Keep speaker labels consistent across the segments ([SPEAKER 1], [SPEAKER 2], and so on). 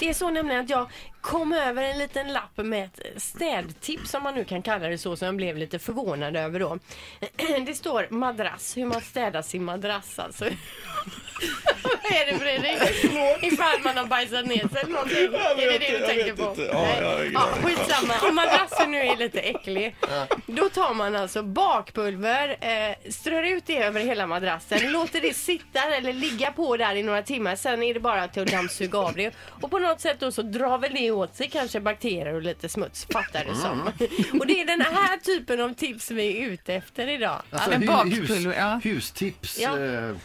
[SPEAKER 1] Det är så nämligen att jag kom över en liten lapp med ett städtips som man nu kan kalla det så som jag blev lite förvånad över då. Det står madrass, hur man städar sin madrass alltså. Vad är det Fredrik? Ifall man har bajsat ner sig eller någonting.
[SPEAKER 2] Ja,
[SPEAKER 1] Är
[SPEAKER 2] men
[SPEAKER 1] det
[SPEAKER 2] jag-
[SPEAKER 1] det du
[SPEAKER 2] jag
[SPEAKER 1] tänker
[SPEAKER 2] vet
[SPEAKER 1] på?
[SPEAKER 2] inte. Ja,
[SPEAKER 1] Nej.
[SPEAKER 2] jag har ingen
[SPEAKER 1] ja,
[SPEAKER 2] aning.
[SPEAKER 1] skitsamma. Om madrassen nu är lite äcklig. Då tar man alltså bakpulver, eh, strör ut det över hela madrassen, låter det sitta eller ligga på där i några timmar. Sen är det bara till att dammsuga av det. Och på något sätt då så drar väl det åt sig kanske bakterier och lite smuts, fattar du som. Och det är den här typen av tips vi är ute efter idag.
[SPEAKER 3] men
[SPEAKER 4] hu-
[SPEAKER 3] bakpulver, ja.
[SPEAKER 4] Hustips.
[SPEAKER 1] Ja.
[SPEAKER 4] eh,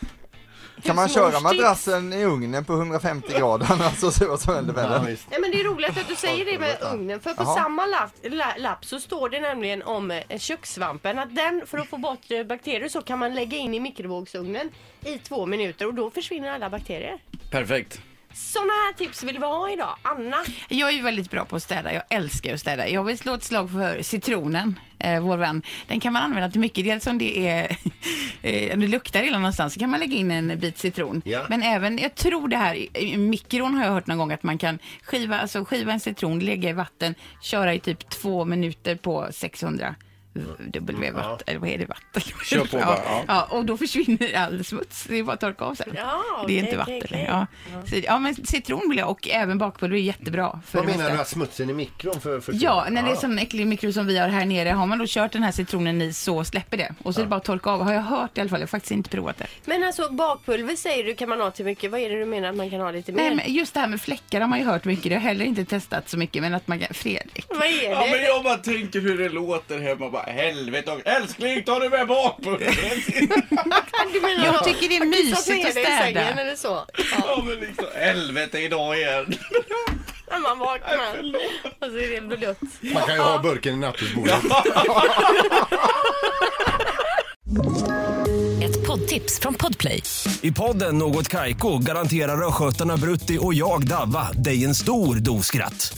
[SPEAKER 2] Kan man köra
[SPEAKER 1] Husmorstips.
[SPEAKER 2] madrassen i ugnen på 150 grader annars så ser vad som händer med
[SPEAKER 4] ja,
[SPEAKER 2] den?
[SPEAKER 4] visst.
[SPEAKER 1] Nej men det är roligt att du säger det med ugnen för på
[SPEAKER 2] Jaha.
[SPEAKER 1] samma lapp, la, lapp så står det nämligen om eh, kökssvampen att den för att få bort eh, bakterier så kan man lägga in i mikrovågsugnen i två minuter och då försvinner alla bakterier.
[SPEAKER 4] Perfekt.
[SPEAKER 1] Sådana här tips vill vi ha idag. Anna,
[SPEAKER 3] Jag är ju väldigt bra på att städa. Jag älskar ju att städa. Jag vill slå ett slag för citronen, eh, vår vän. Den kan man använda till mycket. Dels om det är eh, om det luktar illa någonstans så kan man lägga in en bit citron.
[SPEAKER 4] Ja.
[SPEAKER 3] Men även, jag tror det här, i- i mikron har jag hört någon gång att man kan skiva, alltså skiva en citron, lägga i vatten, köra i typ två minuter på 600 W watt, eller vad är det vatten?
[SPEAKER 4] Kör på bara, ja.
[SPEAKER 3] ja. ja, och då försvinner all smuts. Det är bara att torka av sen.
[SPEAKER 1] Ja,
[SPEAKER 3] det är
[SPEAKER 1] okej,
[SPEAKER 3] inte
[SPEAKER 1] okej,
[SPEAKER 3] vatten
[SPEAKER 1] okej.
[SPEAKER 3] längre. Ja. Så, ja, men citron vill jag och även bakpulver är jättebra. För
[SPEAKER 4] Vad
[SPEAKER 3] det
[SPEAKER 4] menar Ah.
[SPEAKER 3] mesta.
[SPEAKER 4] du att smutsen i mikron för, för
[SPEAKER 3] Ja, när det är sån äcklig mikro som vi har här nere, har man då kört den här citronen i så släpper det. Och
[SPEAKER 4] Ah.
[SPEAKER 3] så är det bara att torka av. Har jag hört i alla fall, jag har faktiskt inte provat det.
[SPEAKER 1] men alltså bakpulver säger du kan man ha till mycket. Vad är det du menar att man kan ha lite mer?
[SPEAKER 3] Nej, men just det här med fläckar har man ju hört mycket. Det har jag heller inte testat så mycket, men att man kan... Fredrik.
[SPEAKER 1] Vad är
[SPEAKER 2] Ja,
[SPEAKER 1] det?
[SPEAKER 2] men
[SPEAKER 5] Jag bara tänker hur det låter hemma. Bara, Helvete och älskling, tar du med bakpulvret?
[SPEAKER 1] Du menar
[SPEAKER 3] Jag
[SPEAKER 1] att-
[SPEAKER 3] tycker det är
[SPEAKER 1] att du satt
[SPEAKER 3] mysigt
[SPEAKER 1] ner
[SPEAKER 3] att
[SPEAKER 1] dig i
[SPEAKER 3] städa.
[SPEAKER 1] sängen Eller så. Ja,
[SPEAKER 5] ja, men liksom, helvete idag igen.
[SPEAKER 1] när man vaknar. Och så är det blött.
[SPEAKER 4] Man kan ju ha burken i nattduksbordet.
[SPEAKER 6] Ett poddtips från Podplay.
[SPEAKER 7] I podden Något Kaiko garanterar östgötarna Brutti och jag, Davva, dig en stor dos skratt.